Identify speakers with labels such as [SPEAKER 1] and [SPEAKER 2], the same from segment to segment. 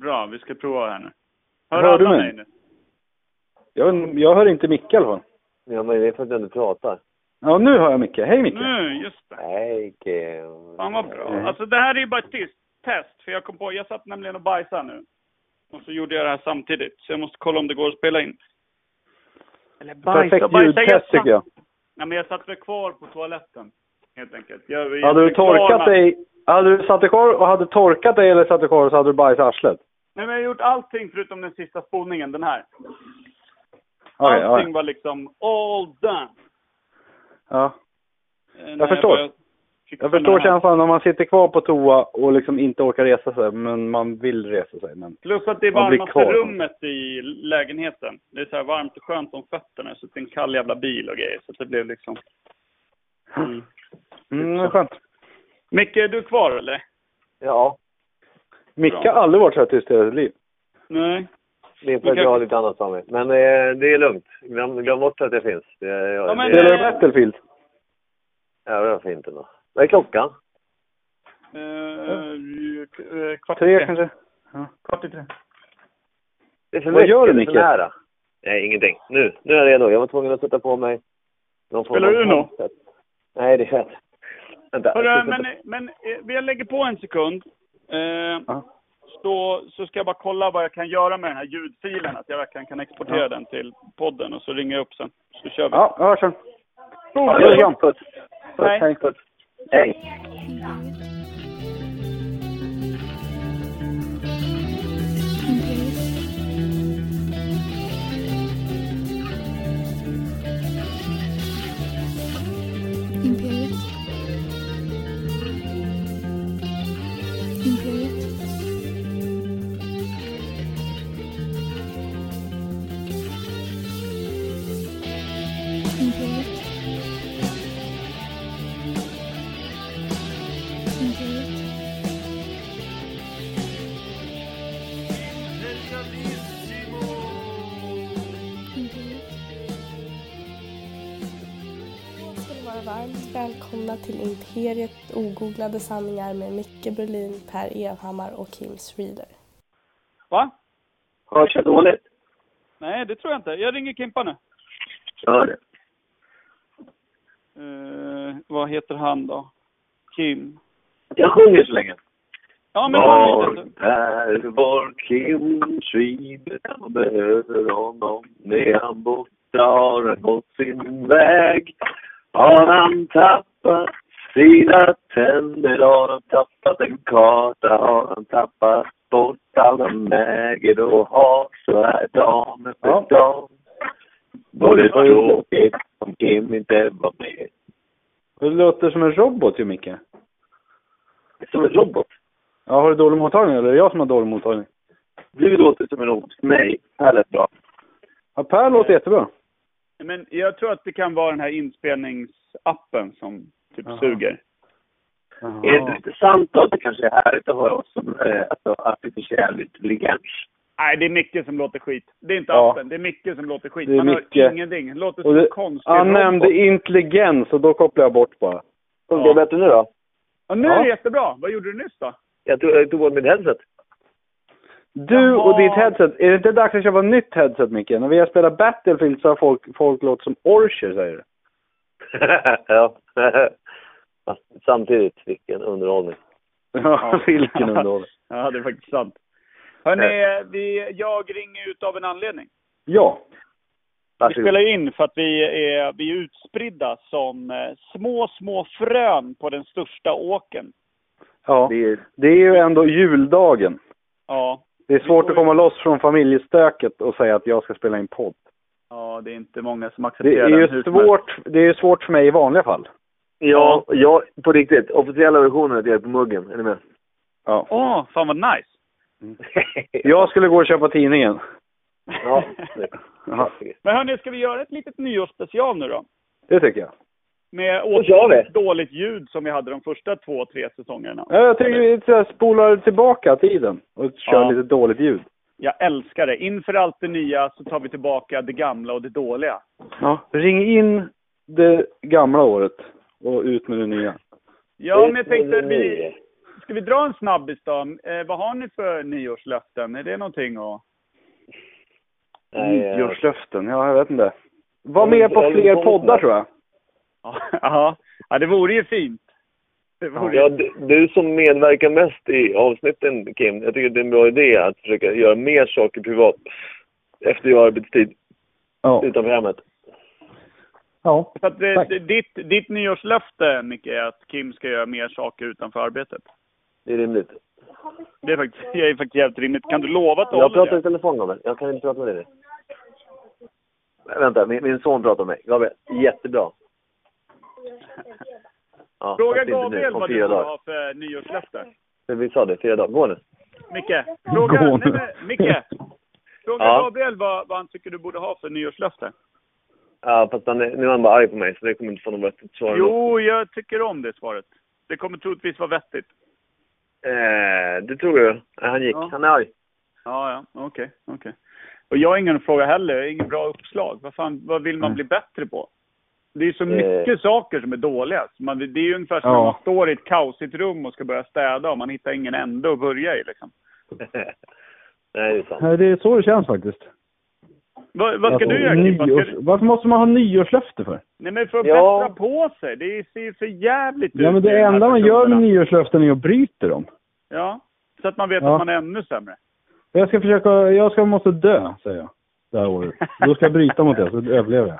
[SPEAKER 1] Bra, vi ska prova här nu.
[SPEAKER 2] Hör
[SPEAKER 1] Hör,
[SPEAKER 2] du
[SPEAKER 1] alla
[SPEAKER 2] mig?
[SPEAKER 1] mig nu?
[SPEAKER 2] Jag, vet inte- jag hör inte Micke i alla fall.
[SPEAKER 3] Ja, men det är för att jag inte pratar.
[SPEAKER 2] Ja, nu hör jag Micke. Hej Micke!
[SPEAKER 1] Nu, just det.
[SPEAKER 3] Nej, Micke.
[SPEAKER 1] Fan vad bra.
[SPEAKER 2] Mm.
[SPEAKER 1] Alltså det här är ju bara ett test, test, för jag kom på, jag satt nämligen och bajsade nu. Och så gjorde jag det här samtidigt, så jag måste kolla om det går att spela in. Eller
[SPEAKER 2] Perfekt ljudtest tycker jag.
[SPEAKER 1] Nej men jag satt väl kvar på toaletten, helt enkelt. Jag, jag
[SPEAKER 2] Hade du
[SPEAKER 1] satt kvar
[SPEAKER 2] torkat
[SPEAKER 1] med-
[SPEAKER 2] dig, hade du satt dig kvar och hade torkat dig eller satt dig kvar och så hade du bajsat i arslet?
[SPEAKER 1] Nej men jag har gjort allting förutom den sista spolningen, den här.
[SPEAKER 2] Okej, ja,
[SPEAKER 1] allting var liksom all done.
[SPEAKER 2] ja.
[SPEAKER 1] Eh, när
[SPEAKER 2] förstår.
[SPEAKER 1] började fixa
[SPEAKER 2] Jag förstår
[SPEAKER 1] med det här.
[SPEAKER 2] känslan när man sitter kvar på toa och liksom inte orkar resa sig, men man vill resa sig. Men...
[SPEAKER 1] Plus att det är
[SPEAKER 2] Man blir
[SPEAKER 1] varmaste
[SPEAKER 2] kvar.
[SPEAKER 1] rummet i lägenheten. Det är så här varmt och skönt om fötterna. Jag sitter i en kall jävla bil och grejer. Så att det blev liksom... Mm.
[SPEAKER 2] Mm, det är skönt.
[SPEAKER 1] Micke, är du kvar eller?
[SPEAKER 3] Ja,
[SPEAKER 2] Micke har aldrig varit så här tyst i hela sitt liv.
[SPEAKER 1] Nej.
[SPEAKER 3] det är för att jag har lite annat samvete. Men eh, det är lugnt. Glöm, glöm bort att det finns. Det, ja,
[SPEAKER 1] Ja, men-
[SPEAKER 3] det,
[SPEAKER 2] Spelar
[SPEAKER 3] det,
[SPEAKER 2] du Battlefield?
[SPEAKER 3] ja, det är fint ändå. Vad är klockan?
[SPEAKER 1] Eh, ju- eh, kvart i
[SPEAKER 2] Tre kanske?
[SPEAKER 1] Kvart i tre.
[SPEAKER 3] Det är för
[SPEAKER 2] Vad
[SPEAKER 3] mycket,
[SPEAKER 2] gör du,
[SPEAKER 3] det är för
[SPEAKER 2] Micke?
[SPEAKER 3] nära. Nej, ingenting. Nu, nu är jag redo. Jag var tvungen att sätta på mig någon form
[SPEAKER 1] Spelar
[SPEAKER 3] av
[SPEAKER 1] du Uno?
[SPEAKER 3] handset. Nej, det är jag inte. Vänta.
[SPEAKER 1] Hörru, men, men eh, jag lägger på en sekund. Eh,
[SPEAKER 2] Ja.
[SPEAKER 1] så, så ska jag bara kolla vad jag kan göra med den här ljudfilen. Att jag verkligen kan exportera
[SPEAKER 2] Ja.
[SPEAKER 1] den till podden och så ringer jag upp sen. Så kör vi.
[SPEAKER 2] Ja, jag hörs sen.
[SPEAKER 1] Prova.
[SPEAKER 2] Ja, det är sant.
[SPEAKER 3] Puss.
[SPEAKER 1] Nej.
[SPEAKER 2] Hej.
[SPEAKER 3] Puss. Hej.
[SPEAKER 4] Imperiet. Imperiet. Imperiet. Imperiet. Imperiet.
[SPEAKER 5] ska ni vara varmt välkomna till Imperiet ogooglade sanningar med Micke Berlin, Per Evhammar och Kim Schreeder.
[SPEAKER 1] Va?
[SPEAKER 3] Hörs jag dåligt?
[SPEAKER 1] Nej, det tror jag inte. Jag ringer Kimpa nu.
[SPEAKER 3] Gör det.
[SPEAKER 1] Eh, vad heter han då? Kim.
[SPEAKER 3] Jag sjunger så länge.
[SPEAKER 1] Ja, men han vet
[SPEAKER 3] Var
[SPEAKER 1] inte.
[SPEAKER 3] där var Kim Schreeder? Jag behöver honom. När han borta har han gått sin väg. Har han tappat sina tänder? Har han tappat en karta? Har han tappat bort alla mäger och har? Så är damen
[SPEAKER 2] Ja.
[SPEAKER 3] för dam. Var det tråkigt om Kim inte var med?
[SPEAKER 2] Du låter som en robot ju, Micke.
[SPEAKER 3] Som en robot.
[SPEAKER 2] Ja, har du dålig mottagning eller är det jag som har dålig mottagning?
[SPEAKER 3] Du låter som en robot. Nej, här lät bra.
[SPEAKER 2] Ja, Per låter jättebra.
[SPEAKER 1] Men jag tror att det kan vara den här inspelningsappen som typ
[SPEAKER 2] Jaha.
[SPEAKER 1] suger.
[SPEAKER 3] Är det inte sant då att det kanske är härligt att höra oss som eh, alltså, artificiell intelligens?
[SPEAKER 1] Nej, det är Micke som låter skit. Det är inte
[SPEAKER 2] Ja.
[SPEAKER 1] appen, det är Micke som låter skit.
[SPEAKER 2] Det är
[SPEAKER 1] Man hör
[SPEAKER 2] Micke.
[SPEAKER 1] ingenting. Det låter
[SPEAKER 2] Och
[SPEAKER 1] som
[SPEAKER 2] det,
[SPEAKER 1] en konstig
[SPEAKER 2] han
[SPEAKER 1] robot.
[SPEAKER 2] nämnde intelligens och då kopplade jag bort bara.
[SPEAKER 3] Funkar det bättre nu då?
[SPEAKER 1] Ja, nu
[SPEAKER 2] Ja.
[SPEAKER 1] är det jättebra. Vad gjorde du nyss då?
[SPEAKER 3] Jag tog, jag tog bort mitt headset.
[SPEAKER 2] Du och
[SPEAKER 1] Jaha.
[SPEAKER 2] ditt headset, är det inte dags att köpa ett nytt headset Micke? När vi har spelat Battlefield så har folk, folk låter som orcher säger du.
[SPEAKER 3] ja. Fast Samtidigt, vilken underhållning.
[SPEAKER 2] Ja, vilken underhållning.
[SPEAKER 1] Ja, det är faktiskt sant. Hörrni, vi, jag ringer ut av en anledning.
[SPEAKER 2] Ja,
[SPEAKER 1] Vi
[SPEAKER 3] Varsågod.
[SPEAKER 1] spelar ju in för att vi är, vi är utspridda som eh, små, små frön på den största åken.
[SPEAKER 2] ja.
[SPEAKER 3] Det är,
[SPEAKER 2] Det är ju ändå juldagen.
[SPEAKER 1] Ja,
[SPEAKER 2] Det är
[SPEAKER 1] Vi
[SPEAKER 2] svårt
[SPEAKER 1] får
[SPEAKER 2] att
[SPEAKER 1] ju-
[SPEAKER 2] komma loss från familjestöket och säga att jag ska spela in podd.
[SPEAKER 1] Ja, det är inte många som
[SPEAKER 2] Det
[SPEAKER 1] accepterar
[SPEAKER 2] är
[SPEAKER 1] den
[SPEAKER 2] ju
[SPEAKER 1] hur som
[SPEAKER 2] svårt, det är ju svårt för mig i vanliga fall.
[SPEAKER 3] ja, ja, på riktigt. Officiella versionen att jag är på muggen. Är ni med?
[SPEAKER 2] Ja.
[SPEAKER 1] helst. Åh, fan vad nice!
[SPEAKER 2] Jag skulle gå och köpa tidningen.
[SPEAKER 3] ja, det-
[SPEAKER 2] Ja,
[SPEAKER 1] Men hörni, ska vi göra ett litet nyårsspecial nu då?
[SPEAKER 2] det tycker jag.
[SPEAKER 1] Med
[SPEAKER 3] gör vi.
[SPEAKER 1] återkommande dåligt ljud som vi hade de första två, tre säsongerna.
[SPEAKER 2] Ja, Jag tycker vi så här spolar tillbaka tiden och kör
[SPEAKER 1] Ja.
[SPEAKER 2] lite dåligt ljud.
[SPEAKER 1] Jag älskar det. Inför allt det nya så tar vi tillbaka det gamla och det dåliga.
[SPEAKER 2] Ja. Ring in det gamla året och ut med det nya.
[SPEAKER 1] Ja, men jag tänkte att vi... ska vi dra en snabbis då? Eh, vad har ni för nyårslöften? Är det någonting att...
[SPEAKER 3] Nej,
[SPEAKER 1] Mm,
[SPEAKER 3] eh,
[SPEAKER 6] Nyårslöften, ja jag vet inte. Var
[SPEAKER 3] Jag vill
[SPEAKER 6] med på
[SPEAKER 3] inte- jag vill
[SPEAKER 6] fler
[SPEAKER 3] inte komma
[SPEAKER 6] poddar
[SPEAKER 3] på
[SPEAKER 6] tror jag.
[SPEAKER 1] Ja, ja det vore ju fint. Det vore
[SPEAKER 3] Ja, du- du som medverkar mest i avsnitten, Kim, jag tycker det är en bra idé att försöka göra mer saker privat efter jag har arbetstid
[SPEAKER 6] Ja.
[SPEAKER 3] utanför hemmet.
[SPEAKER 6] ja.
[SPEAKER 1] Så att, eh,
[SPEAKER 6] Tack.
[SPEAKER 1] ditt, ditt nyårslöfte, Micke, är att Kim ska göra mer saker utanför arbetet.
[SPEAKER 3] Det är rimligt.
[SPEAKER 1] Det är faktiskt, det är faktiskt jävligt rimligt. Kan du lova att du
[SPEAKER 3] Jag
[SPEAKER 1] håller
[SPEAKER 3] pratar i
[SPEAKER 1] det?
[SPEAKER 3] telefon, Gabriel. Jag kan inte prata med dig nu. Nej, Vänta, min, min son pratar med mig. Gabriel, jättebra. Ja,
[SPEAKER 1] Fråga
[SPEAKER 3] fast inte nu,
[SPEAKER 1] Gabriel
[SPEAKER 3] om
[SPEAKER 1] vad du
[SPEAKER 3] fyra
[SPEAKER 1] borde
[SPEAKER 3] dagar.
[SPEAKER 1] ha för nyårslöfte.
[SPEAKER 3] Men Vi sa det, fyra dagar. Gå nu.
[SPEAKER 1] Micke, fråga,
[SPEAKER 6] Gå
[SPEAKER 1] nej,
[SPEAKER 6] nu.
[SPEAKER 1] men, Micke, fråga
[SPEAKER 3] Ja.
[SPEAKER 1] Gabriel vad, vad han tycker du borde ha för nyårslöfte.
[SPEAKER 3] Ja, fast han, är- nu är han bara arg på mig så det kommer inte få något vettigt svar.
[SPEAKER 1] Jo, jag tycker om det svaret. Det kommer troligtvis vara vettigt.
[SPEAKER 3] Eh, det tror jag. Nej, han gick.
[SPEAKER 1] Ja.
[SPEAKER 3] Han är arg.
[SPEAKER 1] Ja, ja, okej, okej. Och jag har ingen fråga heller, jag har ingen bra uppslag. Vad fan, vad vill man
[SPEAKER 6] Nej.
[SPEAKER 1] bli bättre på? Det är så
[SPEAKER 3] Eh.
[SPEAKER 1] mycket saker som är dåliga. Så Man, det är ju ungefär som
[SPEAKER 6] Ja.
[SPEAKER 1] när man står i ett kaosigt rum och ska börja städa och man hittar ingen ände att börja i liksom.
[SPEAKER 3] Nej, det är sant.
[SPEAKER 2] Nej, Det är så det känns faktiskt.
[SPEAKER 1] Vad, vad ska
[SPEAKER 2] Alltså,
[SPEAKER 1] du göra Kim? Vad
[SPEAKER 2] nyårs...
[SPEAKER 1] ska du...
[SPEAKER 2] Varför måste man ha nyårslöfte för?
[SPEAKER 1] Nej men för att
[SPEAKER 3] Ja.
[SPEAKER 1] bättra på sig. Det ser ju för jävligt ut.
[SPEAKER 2] Ja, men
[SPEAKER 1] med
[SPEAKER 2] det
[SPEAKER 1] de här
[SPEAKER 2] enda man gör med
[SPEAKER 1] personerna.
[SPEAKER 2] nyårslöften är att bryta dem.
[SPEAKER 1] Ja. Så att man vet
[SPEAKER 2] Ja.
[SPEAKER 1] att man är ännu sämre.
[SPEAKER 2] Jag ska försöka, jag ska, måste dö, säger jag. Det här året. Då ska jag bryta mot det, så överlever jag.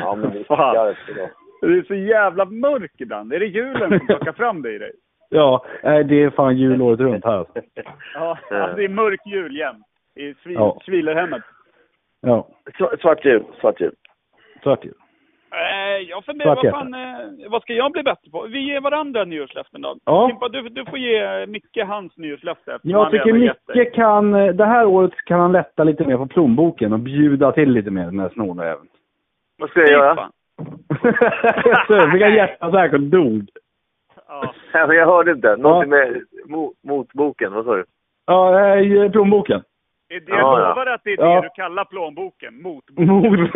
[SPEAKER 3] Ja, men det är
[SPEAKER 1] Fan.
[SPEAKER 3] skarpt idag.
[SPEAKER 1] Det är så jävla mörkt ibland. Är det julen som plockar fram det i dig?
[SPEAKER 2] Ja, nej, det är fan jul året runt här alltså.
[SPEAKER 1] Ja, ja, det är mörk jul jämt. I svil,
[SPEAKER 2] Ja.
[SPEAKER 1] Svilerhemmet.
[SPEAKER 2] Ja,
[SPEAKER 3] Sva- Svart jul, svart jul.
[SPEAKER 2] svart jul.
[SPEAKER 1] Eh, jag funderar, vad,
[SPEAKER 2] Svart
[SPEAKER 1] fan, eh, vad ska jag bli bättre på? Vi ger varandra nyårslöften då.
[SPEAKER 2] Ja.
[SPEAKER 1] Kimpa, du, du får ge Micke hans nyårslöfte. eftersom
[SPEAKER 2] Jag
[SPEAKER 1] han
[SPEAKER 2] tycker
[SPEAKER 1] redan gett dig.
[SPEAKER 2] Micke kan, eh, det här året kan han lätta lite mer på plånboken och bjuda till lite mer den här snornäven.
[SPEAKER 3] Vad ska jag göra?
[SPEAKER 1] Fan.
[SPEAKER 2] Så fick jag hjärtattack och dog.
[SPEAKER 1] Ja.
[SPEAKER 3] Nej, men Jag hörde inte. Någonting
[SPEAKER 2] Ja.
[SPEAKER 3] med mo- motboken. Vad sa du?
[SPEAKER 2] Ja, eh, plånboken.
[SPEAKER 1] Det- Jag
[SPEAKER 3] Ja, ja.
[SPEAKER 1] lovar att det är det
[SPEAKER 2] Ja.
[SPEAKER 1] du kallar plånboken, motboken.
[SPEAKER 2] Mord.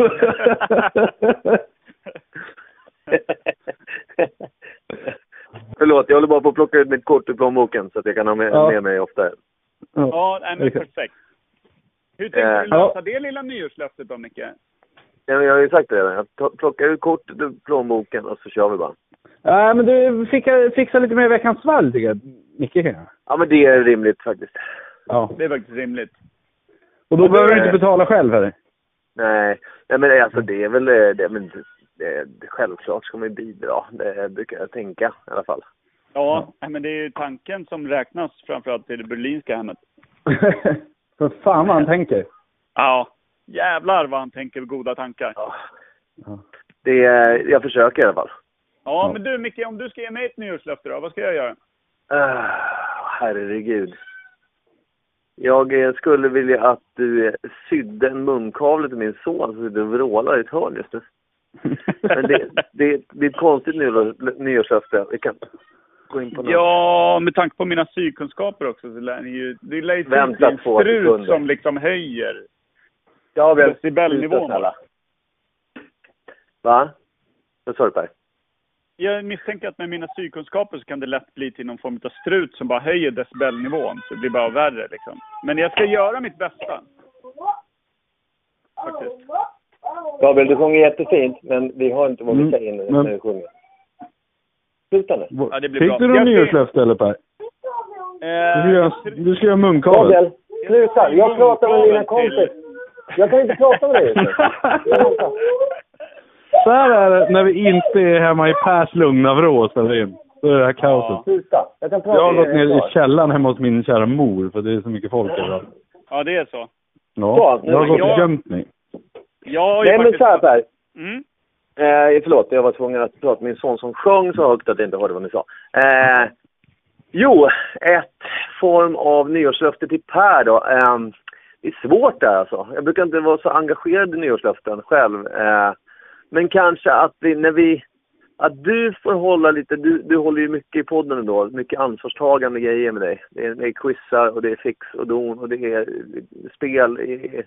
[SPEAKER 3] Förlåt, jag håller bara på att plocka ut mitt kort ur plånboken så att jag kan ha med,
[SPEAKER 2] Ja.
[SPEAKER 3] med mig ofta.
[SPEAKER 1] ja, nej, men
[SPEAKER 2] Okej.
[SPEAKER 1] perfekt. Hur tänker
[SPEAKER 3] Eh,
[SPEAKER 1] du lösa
[SPEAKER 2] ja.
[SPEAKER 1] det lilla nyårslöftet då, Micke?
[SPEAKER 3] Ja, men Jag har ju sagt det redan. Jag to- plockar ut kortet ur plånboken och så kör vi bara.
[SPEAKER 2] Nej, men du fixa, fixa lite mer veckans svalg tycker jag. Micke kan göra.
[SPEAKER 3] Ja, men det är rimligt faktiskt.
[SPEAKER 2] Ja.
[SPEAKER 1] Det är faktiskt rimligt.
[SPEAKER 2] Och då behöver du inte betala själv heller.
[SPEAKER 3] Nej, nej men alltså det är väl... eh, Det, men, det, det, självklart ska man ju bidra. Det brukar jag tänka i alla fall.
[SPEAKER 1] Ja, nej, men det är ju tanken som räknas framförallt i det berlinska hemmet.
[SPEAKER 2] För fan vad han tänker.
[SPEAKER 1] Ja, jävlar vad han tänker goda tankar.
[SPEAKER 3] Ja.
[SPEAKER 2] Ja.
[SPEAKER 3] Det, är- jag försöker i alla fall.
[SPEAKER 1] Ja,
[SPEAKER 2] Ja.
[SPEAKER 1] men du Micke, om du ska ge mig ett nyårslöfte då, vad ska jag göra?
[SPEAKER 3] Ah, herregud. Jag eh, skulle vilja att du eh, sydde en munkavle till min son som sitter och vrålar i ett hörn just nu. Men det, det, det är ett konstigt nyår- nyårslöfte. Vi kan gå in på något.
[SPEAKER 1] Ja, med tanke på mina sykunskaper också så lär ni ju... Det lär ju
[SPEAKER 3] Vänta
[SPEAKER 1] finnas en
[SPEAKER 3] två
[SPEAKER 1] strut
[SPEAKER 3] sekunder.
[SPEAKER 1] som liksom höjer
[SPEAKER 3] ja vi har-
[SPEAKER 1] decibelnivån.
[SPEAKER 3] snälla. Va? Vad sa du Per?
[SPEAKER 1] Jag misstänker att med mina sykunskaper så kan det lätt bli till någon form av strut som bara höjer decibelnivån. Så det blir bara värre liksom. Men jag ska göra mitt bästa. Faktiskt.
[SPEAKER 3] Gabriel, du sjunger jättefint, men vi har inte
[SPEAKER 2] vågat Mm, säga in det men- när du
[SPEAKER 3] sjunger. Sluta nu.
[SPEAKER 1] Ja, det blir bra.
[SPEAKER 2] Fick du
[SPEAKER 1] Jag
[SPEAKER 2] något
[SPEAKER 1] ser-
[SPEAKER 2] nyårslöfte eller Per? Du ska
[SPEAKER 1] Eh,
[SPEAKER 2] göra,
[SPEAKER 1] jag
[SPEAKER 2] du ska göra munkavle.
[SPEAKER 3] sluta! Jag pratar med mina
[SPEAKER 1] Munkavlen till-
[SPEAKER 3] kompisar. Jag kan inte prata med dig just nu.
[SPEAKER 2] Så här är det när vi inte är hemma i Pers lugna vrå och spelar in. Då är det här kaoset.
[SPEAKER 3] Sluta! Jag kan prata
[SPEAKER 2] Jag har
[SPEAKER 3] med
[SPEAKER 2] gått ner i källaren hemma hos min kära mor för det är så mycket folk överallt.
[SPEAKER 1] Ja, det är så.
[SPEAKER 2] Ja,
[SPEAKER 3] Så,
[SPEAKER 2] jag har
[SPEAKER 3] men
[SPEAKER 2] gått
[SPEAKER 1] jag-
[SPEAKER 2] och gömt mig.
[SPEAKER 1] Jag har ju
[SPEAKER 3] Nej men
[SPEAKER 1] faktiskt...
[SPEAKER 3] så här Per.
[SPEAKER 1] Mm.
[SPEAKER 3] Eh, förlåt, jag var tvungen att prata med min son som sjöng så högt att jag inte hörde vad ni sa. Eh, jo, ett form av nyårslöfte till Per då. Eh, det är svårt där alltså. Jag brukar inte vara så engagerad i nyårslöften själv. Eh, men kanske att vi, när vi, att du får hålla lite, du, du håller ju mycket i podden ändå, mycket ansvarstagande grejer med dig. Det är, det är quizar och det är fix och don och det är spel. i-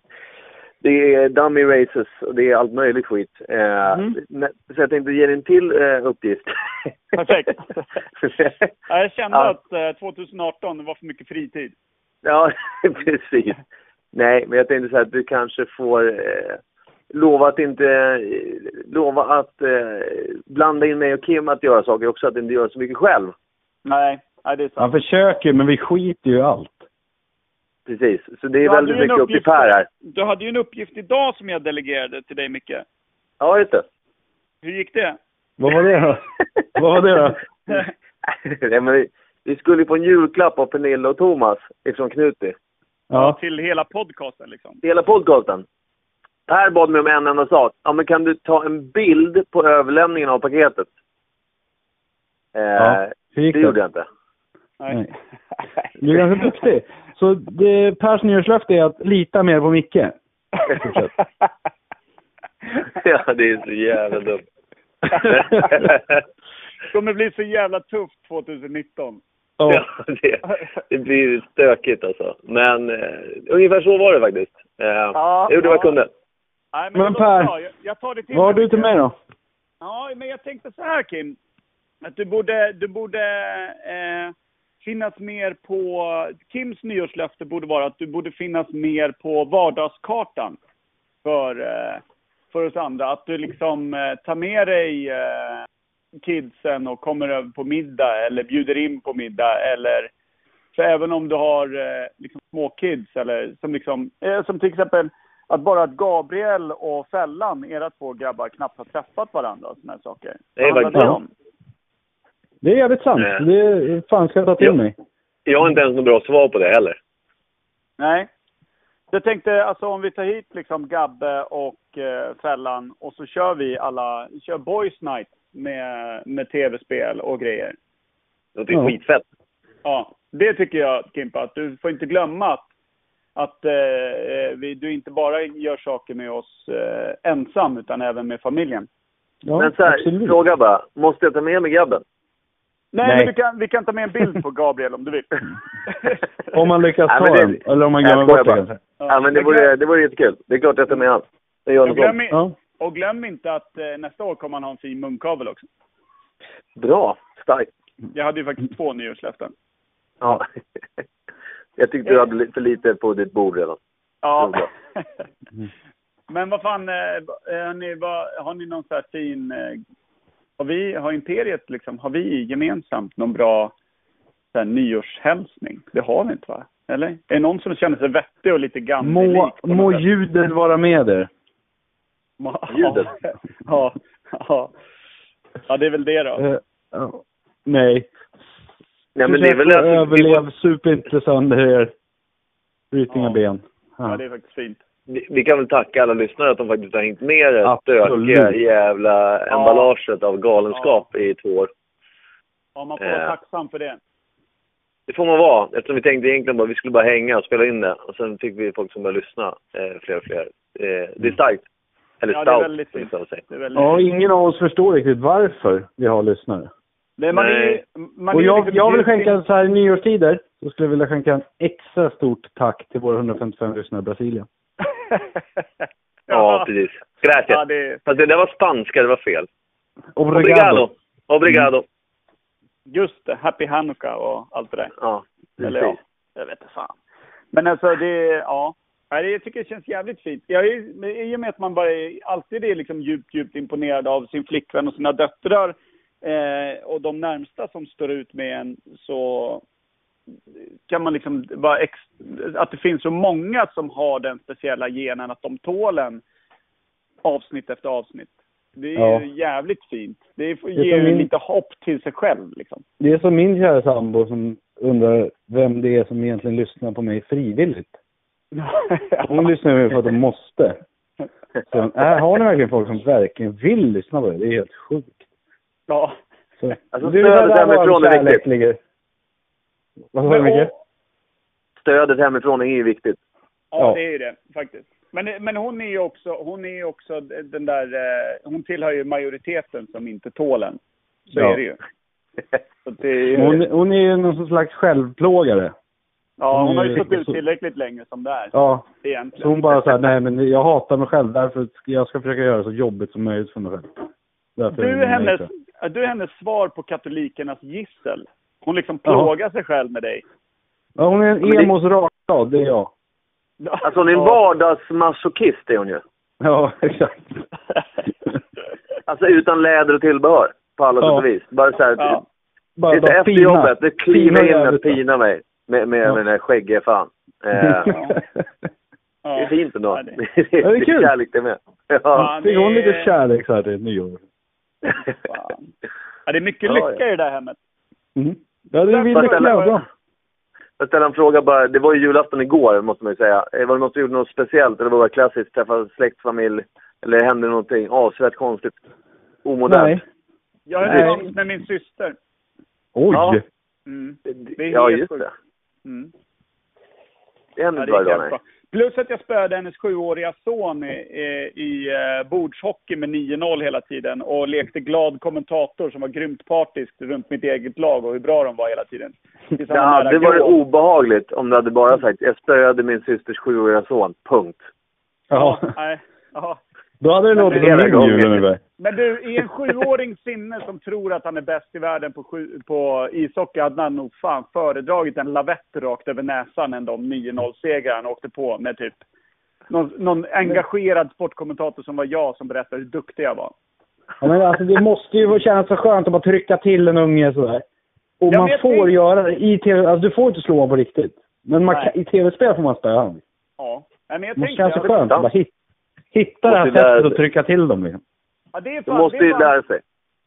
[SPEAKER 3] Det är dummy races och det är allt möjligt skit. Eh,
[SPEAKER 1] Mm.
[SPEAKER 3] nä- Så jag tänkte ge dig en till eh, uppgift.
[SPEAKER 1] Perfekt. Ja, jag kände
[SPEAKER 3] Ja.
[SPEAKER 1] att eh, 2018 det var för mycket fritid.
[SPEAKER 3] ja, precis. Nej, men jag tänkte så här att du kanske får eh, lova att inte... Eh, lova att eh, blanda in mig och Kim att göra saker också, att inte göra så mycket själv.
[SPEAKER 1] Nej, nej det är
[SPEAKER 2] Han
[SPEAKER 1] sant.
[SPEAKER 2] försöker men vi skiter ju i allt.
[SPEAKER 3] Precis, så det är
[SPEAKER 1] Ja,
[SPEAKER 3] väldigt
[SPEAKER 1] det är en
[SPEAKER 3] mycket upp till
[SPEAKER 1] uppgift.
[SPEAKER 3] Per här.
[SPEAKER 1] Du hade ju en uppgift idag som jag delegerade till dig, Micke.
[SPEAKER 3] Ja, just det.
[SPEAKER 1] Hur gick det?
[SPEAKER 2] Vad var det då? Vad var det då?
[SPEAKER 3] Mm. Nej, men vi, vi skulle ju få en julklapp av Pernilla och Thomas ifrån Knutby.
[SPEAKER 2] Ja.
[SPEAKER 1] Till hela podcasten liksom.
[SPEAKER 3] hela podcasten. Per bad mig om en enda sak. Ja, men kan du ta en bild på överlämningen av paketet? Eh,
[SPEAKER 2] ja. Hur gick
[SPEAKER 3] det gjorde jag inte.
[SPEAKER 2] Nej. Du är ganska duktig. Så det, Pers nyårslöfte är att lita mer på Micke. Fortsätt.
[SPEAKER 3] ja, det är så jävla dumt.
[SPEAKER 1] Det kommer bli så jävla tufft 2019.
[SPEAKER 2] Ja.
[SPEAKER 3] Ja, det, det blir stökigt alltså. Men eh, ungefär så var det faktiskt. Eh,
[SPEAKER 1] Ja,
[SPEAKER 3] jag gjorde vad jag
[SPEAKER 1] ja.
[SPEAKER 3] kunde.
[SPEAKER 1] Nej, men
[SPEAKER 2] Men
[SPEAKER 1] det låter
[SPEAKER 2] Per,
[SPEAKER 1] bra. Jag- jag tar det till
[SPEAKER 2] Vad har
[SPEAKER 1] mig,
[SPEAKER 2] du till
[SPEAKER 1] Micke.
[SPEAKER 2] mig då?
[SPEAKER 1] Ja, men jag tänkte så här Kim. Att du borde, du borde eh, finnas mer på... Kims nyårslöfte borde vara att du borde finnas mer på vardagskartan. För, eh, för oss andra. Att du liksom eh, tar med dig eh, kidsen och kommer över på middag eller bjuder in på middag eller... För även om du har eh, liksom små kids eller som liksom... Eh, som till exempel att bara att Gabriel och Fällan, era två grabbar, knappt har träffat varandra och såna här saker.
[SPEAKER 3] Nej,
[SPEAKER 1] Vad
[SPEAKER 3] verkligen.
[SPEAKER 1] handlar det om?
[SPEAKER 2] Det är jävligt sant.
[SPEAKER 3] Nej.
[SPEAKER 2] Det är, fan ska jag ta till
[SPEAKER 3] Ja.
[SPEAKER 2] mig.
[SPEAKER 3] Jag har inte
[SPEAKER 2] Mm.
[SPEAKER 3] ens något bra svar på det heller.
[SPEAKER 1] Nej. Jag tänkte alltså om vi tar hit liksom Gabbe och eh, Fällan och så kör vi alla, kör Boys Night med, med tv-spel och grejer.
[SPEAKER 3] Det är
[SPEAKER 2] Ja.
[SPEAKER 3] skitfett.
[SPEAKER 1] Ja, det tycker jag Kimpa, att du får inte glömma att, att eh, vi, du inte bara gör saker med oss eh, ensam utan även med familjen.
[SPEAKER 2] Ja,
[SPEAKER 3] men så här,
[SPEAKER 2] absolut.
[SPEAKER 3] fråga bara. Måste jag ta med mig grabben?
[SPEAKER 1] Nej,
[SPEAKER 2] Nej. Mm.
[SPEAKER 1] Men vi, kan, vi kan ta med en bild på Gabriel om du vill.
[SPEAKER 2] Om man lyckas
[SPEAKER 3] Nej,
[SPEAKER 2] ta
[SPEAKER 3] men det-
[SPEAKER 2] den. Eller om man
[SPEAKER 3] Nej,
[SPEAKER 2] glömmer
[SPEAKER 3] jag skojar
[SPEAKER 2] bort det
[SPEAKER 3] bara.
[SPEAKER 2] kanske.
[SPEAKER 1] Ja.
[SPEAKER 3] Ja, men det
[SPEAKER 1] Jag glöm-
[SPEAKER 3] vore, det vore jättekul. Det är klart jag tar med han. Jag gör
[SPEAKER 1] och,
[SPEAKER 3] något
[SPEAKER 1] glöm,
[SPEAKER 3] sånt.
[SPEAKER 1] i-
[SPEAKER 2] Ja.
[SPEAKER 1] och glöm inte att eh, nästa år kommer han ha en fin munkavel också.
[SPEAKER 3] Bra. Starkt.
[SPEAKER 1] Jag hade ju faktiskt två nyårslöften.
[SPEAKER 3] Ja. Jag tyckte du hade li- för lite på ditt bord redan.
[SPEAKER 1] Ja.
[SPEAKER 2] Mm.
[SPEAKER 1] Men vad fan, eh, har ni, vad, har ni någon så här fin... eh, Har vi, har Imperiet liksom, har vi gemensamt någon bra så här, nyårshälsning? Det har vi inte va? Eller? Är det någon som känner sig vettig och lite gammal?
[SPEAKER 2] Må, må ljudet vara med er.
[SPEAKER 3] ljudet.
[SPEAKER 1] Ja, ja. Ja, det är väl det då.
[SPEAKER 2] Eh, ja. Nej.
[SPEAKER 3] Nej, men det är väl
[SPEAKER 2] Försök
[SPEAKER 3] att...
[SPEAKER 2] att
[SPEAKER 1] alltså-
[SPEAKER 2] Överlev, sup inte sönder er. Bryt
[SPEAKER 1] Ja.
[SPEAKER 2] inga ben.
[SPEAKER 1] Ja,
[SPEAKER 2] Ja.
[SPEAKER 1] det är faktiskt fint.
[SPEAKER 3] vi, vi kan väl tacka alla lyssnare att de faktiskt har hängt med i det här
[SPEAKER 2] Absolut.
[SPEAKER 3] stökiga jävla emballaget av galenskap i två år.
[SPEAKER 1] Ja, man får vara
[SPEAKER 3] Eh.
[SPEAKER 1] tacksam för det.
[SPEAKER 3] Det får man vara, eftersom vi tänkte egentligen bara vi skulle bara hänga och spela in det. Och sen fick vi folk som började lyssna, eh, fler och fler. Eh, det är starkt. Eller
[SPEAKER 1] Mm. Ja, det är väldigt
[SPEAKER 3] starkt, som
[SPEAKER 1] fint.
[SPEAKER 3] vissa säger.
[SPEAKER 1] Det är väldigt
[SPEAKER 2] Ja, ingen av oss förstår riktigt varför vi har lyssnare.
[SPEAKER 1] Nej, man är, ju-
[SPEAKER 3] Nej.
[SPEAKER 1] man är
[SPEAKER 2] Och
[SPEAKER 1] ju
[SPEAKER 2] jag,
[SPEAKER 1] liksom
[SPEAKER 2] jag vill
[SPEAKER 1] djupt in-
[SPEAKER 2] skänka så här i nyårstider, så skulle jag vilja skänka en extra stort tack till våra 155 lyssnare i Brasilien.
[SPEAKER 3] Ja, precis. Gracias.
[SPEAKER 1] Ja, det,
[SPEAKER 3] Fast det där var spanska, det var fel.
[SPEAKER 2] Obrigado! Mm.
[SPEAKER 3] Obrigado.
[SPEAKER 1] just det, Happy Hanukkah och allt det där.
[SPEAKER 3] Ja,
[SPEAKER 1] Eller ja,
[SPEAKER 3] precis.
[SPEAKER 1] jag vet inte fan. Men alltså det, ja. Nej, det- Jag tycker det känns jävligt fint. Jag är, men I och med att man bara är, alltid är liksom djupt, djupt imponerad av sin flickvän och sina döttrar eh, och de närmsta som står ut med en så kan man liksom vara ex, att det finns så många som har den speciella genen att de tål en avsnitt efter avsnitt. Det är
[SPEAKER 2] Ja.
[SPEAKER 1] ju jävligt fint. Det, får-
[SPEAKER 2] är som
[SPEAKER 1] ger ju
[SPEAKER 2] min-
[SPEAKER 1] lite hopp till sig själv liksom.
[SPEAKER 2] Det är som min kära sambo som undrar vem det är som egentligen lyssnar på mig frivilligt. Hon lyssnar ju för att hon måste. Så, äh, har ni verkligen folk som verkligen vill lyssna på det? Det är helt sjukt.
[SPEAKER 1] Ja.
[SPEAKER 2] Så,
[SPEAKER 3] Alltså,
[SPEAKER 2] det är väl
[SPEAKER 3] stödet
[SPEAKER 2] där vår
[SPEAKER 3] hemifrån är
[SPEAKER 2] kärlek
[SPEAKER 3] viktigt.
[SPEAKER 2] ligger. Vad sa
[SPEAKER 1] Men-
[SPEAKER 2] du, Micke?
[SPEAKER 1] och-
[SPEAKER 3] Stödet hemifrån är ju viktigt.
[SPEAKER 1] Ja,
[SPEAKER 2] Ja.
[SPEAKER 1] det är ju det faktiskt. Men, men hon är ju också, hon är ju också den där, eh, hon tillhör ju majoriteten som inte tål en. Så
[SPEAKER 2] Ja.
[SPEAKER 1] är det ju. Så att det är ju
[SPEAKER 2] Hon, hon är ju någon slags självplågare.
[SPEAKER 1] Ja, hon har ju
[SPEAKER 2] Mm.
[SPEAKER 1] stått ut tillräckligt länge som det är.
[SPEAKER 2] Ja,
[SPEAKER 1] Egentligen.
[SPEAKER 2] så hon bara så här, nej men jag hatar mig själv därför ska- jag ska försöka göra det så jobbigt som möjligt för mig själv. Därför är
[SPEAKER 1] Du
[SPEAKER 2] det
[SPEAKER 1] är, hennes,
[SPEAKER 2] nej, så.
[SPEAKER 1] du är hennes svar på katolikernas gissel. Hon liksom plågar sig själv med dig.
[SPEAKER 2] Ja, hon är en emos rakblad, det är jag.
[SPEAKER 3] Alltså hon är en vardagsmasochist är hon ju.
[SPEAKER 2] Ja, exakt.
[SPEAKER 3] Alltså utan läder och tillbehör. På alla sätt
[SPEAKER 2] Ja.
[SPEAKER 3] och vis. Bara så här,
[SPEAKER 1] Ja.
[SPEAKER 2] Bara,
[SPEAKER 3] lite
[SPEAKER 2] bara
[SPEAKER 3] efter
[SPEAKER 2] fina.
[SPEAKER 3] jobbet. Nu kliver jag in
[SPEAKER 2] jävligt.
[SPEAKER 3] och pinar mig. Med, med,
[SPEAKER 2] Ja.
[SPEAKER 3] med den här skäggiga fan. Eh, det är fint ändå.
[SPEAKER 1] Ja, det-
[SPEAKER 3] det
[SPEAKER 2] Ja, det är kul.
[SPEAKER 3] kärlek det med. Ja.
[SPEAKER 1] Fan,
[SPEAKER 2] Fick hon
[SPEAKER 1] det-
[SPEAKER 2] lite kärlek så här till nyår?
[SPEAKER 1] fan. Ja, det är mycket
[SPEAKER 3] Ja,
[SPEAKER 1] lycka i det där hemmet.
[SPEAKER 2] Mm. Ja, det vill
[SPEAKER 3] Fast
[SPEAKER 2] jag
[SPEAKER 3] den-
[SPEAKER 2] klädda.
[SPEAKER 3] Jag ställer en fråga bara. Det var ju julafton igår måste man ju säga. Eh, Var det någon som gjorde något speciellt eller var det bara klassiskt? Träffa släkt, familj? Eller hände någonting avsevärt konstigt? Omodernt?
[SPEAKER 2] Nej.
[SPEAKER 1] Jag är
[SPEAKER 2] Nej.
[SPEAKER 1] tillsammans med min syster.
[SPEAKER 2] Oj!
[SPEAKER 3] Ja.
[SPEAKER 1] Mm. Det är
[SPEAKER 3] Ja,
[SPEAKER 1] helt
[SPEAKER 3] just
[SPEAKER 1] sjukt.
[SPEAKER 3] det.
[SPEAKER 1] Mm.
[SPEAKER 3] Det hände
[SPEAKER 1] Ja, det
[SPEAKER 3] inte varje
[SPEAKER 1] gick
[SPEAKER 3] dag,
[SPEAKER 1] jävligt
[SPEAKER 3] nej.
[SPEAKER 1] bra. Plus att jag spöade hennes sjuåriga son i, i, i eh, bordshockey med 9-0 hela tiden och lekte glad kommentator som var grymt partisk runt mitt eget lag och hur bra de var hela tiden. Tills han
[SPEAKER 3] Ja,
[SPEAKER 1] nära
[SPEAKER 3] det var det
[SPEAKER 1] grå.
[SPEAKER 3] obehagligt om du hade
[SPEAKER 1] Mm.
[SPEAKER 3] bara sagt jag spöade min systers sjuåriga son, punkt.
[SPEAKER 1] Ja,
[SPEAKER 2] Ja.
[SPEAKER 1] nej. Ja.
[SPEAKER 2] Då hade det
[SPEAKER 1] Men det
[SPEAKER 2] låtit som
[SPEAKER 1] är
[SPEAKER 3] hela
[SPEAKER 2] min
[SPEAKER 3] gången.
[SPEAKER 2] jul ungefär.
[SPEAKER 1] Men du, i en sjuårings sinne som tror att han är bäst i världen på, sju, på ishockey hade han nog fan föredragit en lavett rakt över näsan än de 9-0-segrar han åkte på med typ någon, någon engagerad sportkommentator som var jag som berättade hur duktig jag var.
[SPEAKER 2] Ja, men alltså, det måste ju kännas så skönt att bara trycka till en unge sådär. Och
[SPEAKER 1] Jag
[SPEAKER 2] man
[SPEAKER 1] vet
[SPEAKER 2] får
[SPEAKER 1] inte.
[SPEAKER 2] göra det i tv. Alltså du får inte slå honom på riktigt. Men man
[SPEAKER 1] Nej.
[SPEAKER 2] kan, i tv-spel får man spöa honom.
[SPEAKER 1] Ja. Nej, men jag
[SPEAKER 2] Det måste
[SPEAKER 1] tänkte,
[SPEAKER 2] kännas så
[SPEAKER 1] ja,
[SPEAKER 2] skönt att bara hit, hitta det här
[SPEAKER 3] Måste lära
[SPEAKER 2] sättet att
[SPEAKER 3] sig.
[SPEAKER 2] trycka till dem liksom.
[SPEAKER 1] ja, det är
[SPEAKER 3] Du
[SPEAKER 1] fan,
[SPEAKER 3] måste
[SPEAKER 1] det är
[SPEAKER 3] ju
[SPEAKER 1] fan,
[SPEAKER 3] lära sig.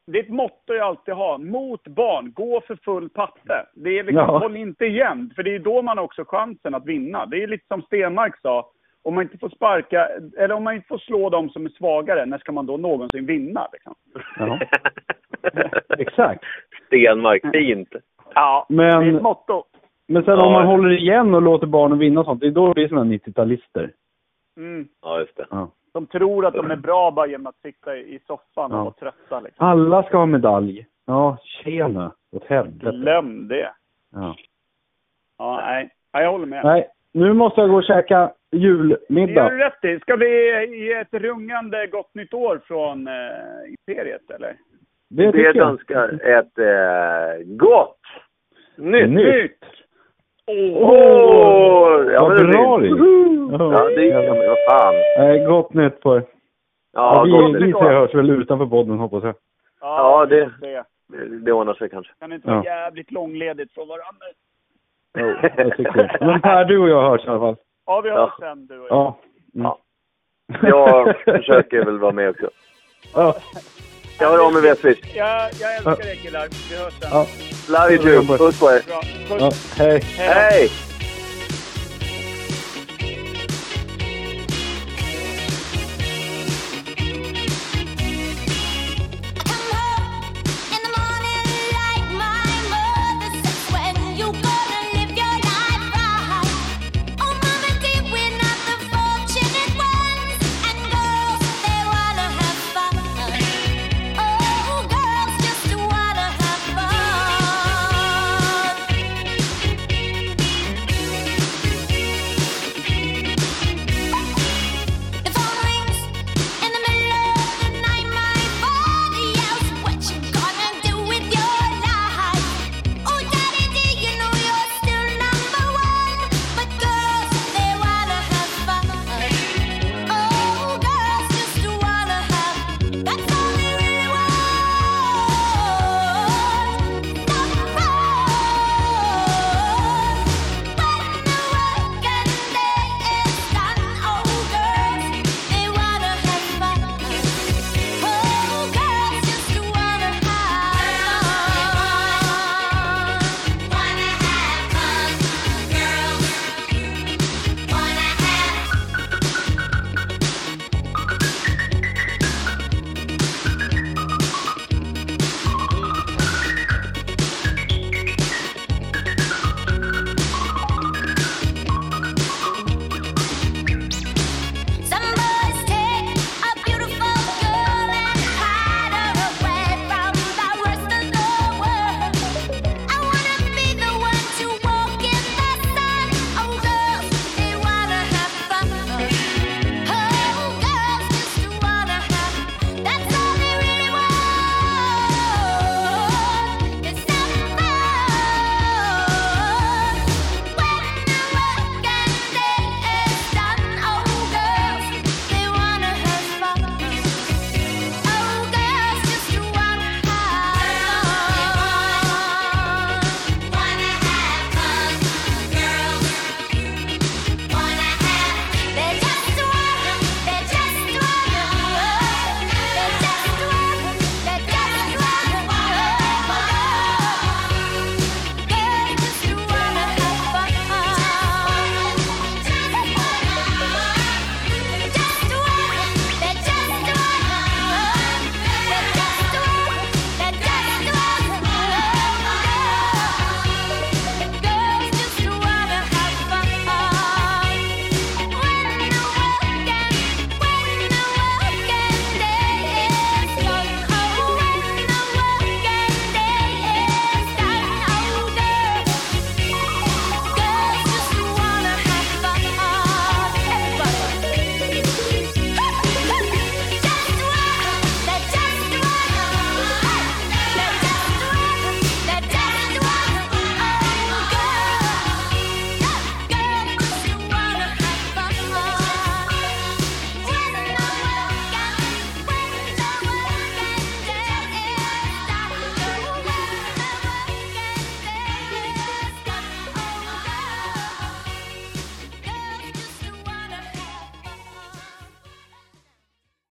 [SPEAKER 1] Det är ett motto jag alltid har. Mot barn, gå för full patte. Det är liksom,
[SPEAKER 2] Ja.
[SPEAKER 1] håll inte igen. För det är då man har också chansen att vinna. Det är lite som Stenmark sa. Om man inte får sparka, eller om man inte får slå de som är svagare, när ska man då någonsin vinna? Liksom?
[SPEAKER 2] Ja, exakt.
[SPEAKER 3] Stenmark, fint.
[SPEAKER 1] Ja,
[SPEAKER 2] Men-
[SPEAKER 1] det är ett motto.
[SPEAKER 2] Men sen
[SPEAKER 3] Ja.
[SPEAKER 2] om man håller igen och låter barnen vinna och sånt, det är då det blir sådana 90-talister.
[SPEAKER 1] Mm.
[SPEAKER 3] Ja, just det.
[SPEAKER 2] Ja.
[SPEAKER 1] De tror att de är bra bara genom att sitta i soffan och
[SPEAKER 2] Ja.
[SPEAKER 1] vara trötta. Liksom.
[SPEAKER 2] Alla ska ha medalj. Ja, tjena. Åt helvete.
[SPEAKER 1] Glöm det.
[SPEAKER 2] Ja.
[SPEAKER 1] Ja, nej. Ja, jag håller med.
[SPEAKER 2] Nej, nu måste jag gå och käka
[SPEAKER 1] Det gör du
[SPEAKER 2] julmiddag.
[SPEAKER 1] rätt i. Ska vi ge ett rungande gott nytt år från eh, Imperiet, eller?
[SPEAKER 2] Det tycker
[SPEAKER 3] Det
[SPEAKER 2] jag.
[SPEAKER 3] önskar ett eh, gott nytt
[SPEAKER 2] Nytt.
[SPEAKER 1] Nytt! Åh!
[SPEAKER 3] år! Ja, men
[SPEAKER 2] Vad
[SPEAKER 3] det är
[SPEAKER 2] bra
[SPEAKER 3] fint.
[SPEAKER 2] det är.
[SPEAKER 3] Ja, det är
[SPEAKER 2] Ja.
[SPEAKER 3] Vad fan.
[SPEAKER 2] Nej, Eh, Gott nytt på er.
[SPEAKER 3] Ja,
[SPEAKER 2] vi,
[SPEAKER 3] gott
[SPEAKER 2] vi
[SPEAKER 3] nytt
[SPEAKER 2] tre
[SPEAKER 3] år.
[SPEAKER 2] hörs väl utanför podden hoppas jag.
[SPEAKER 1] Ja,
[SPEAKER 3] Ja,
[SPEAKER 1] det...
[SPEAKER 3] det-
[SPEAKER 1] det.
[SPEAKER 3] Det ordnar sig kanske.
[SPEAKER 1] Kan inte vara
[SPEAKER 2] Ja.
[SPEAKER 1] jävligt långledigt från varandra.
[SPEAKER 2] Jo, jag tycker det. Men Per, du och jag hörs i alla fall.
[SPEAKER 1] Ja, vi hörs
[SPEAKER 3] Ja.
[SPEAKER 1] sen du och jag.
[SPEAKER 2] Ja. Mm.
[SPEAKER 3] Ja. Jag försöker väl vara med också.
[SPEAKER 2] Ja,
[SPEAKER 3] Jag hör av mig via Swish.
[SPEAKER 1] Jag, jag älskar er killar. Vi hörs sen.
[SPEAKER 2] ja,
[SPEAKER 3] Love you too. Puss på er.
[SPEAKER 1] Bra. Puss.
[SPEAKER 2] ja. Hej.
[SPEAKER 1] Hej då.
[SPEAKER 3] Hej!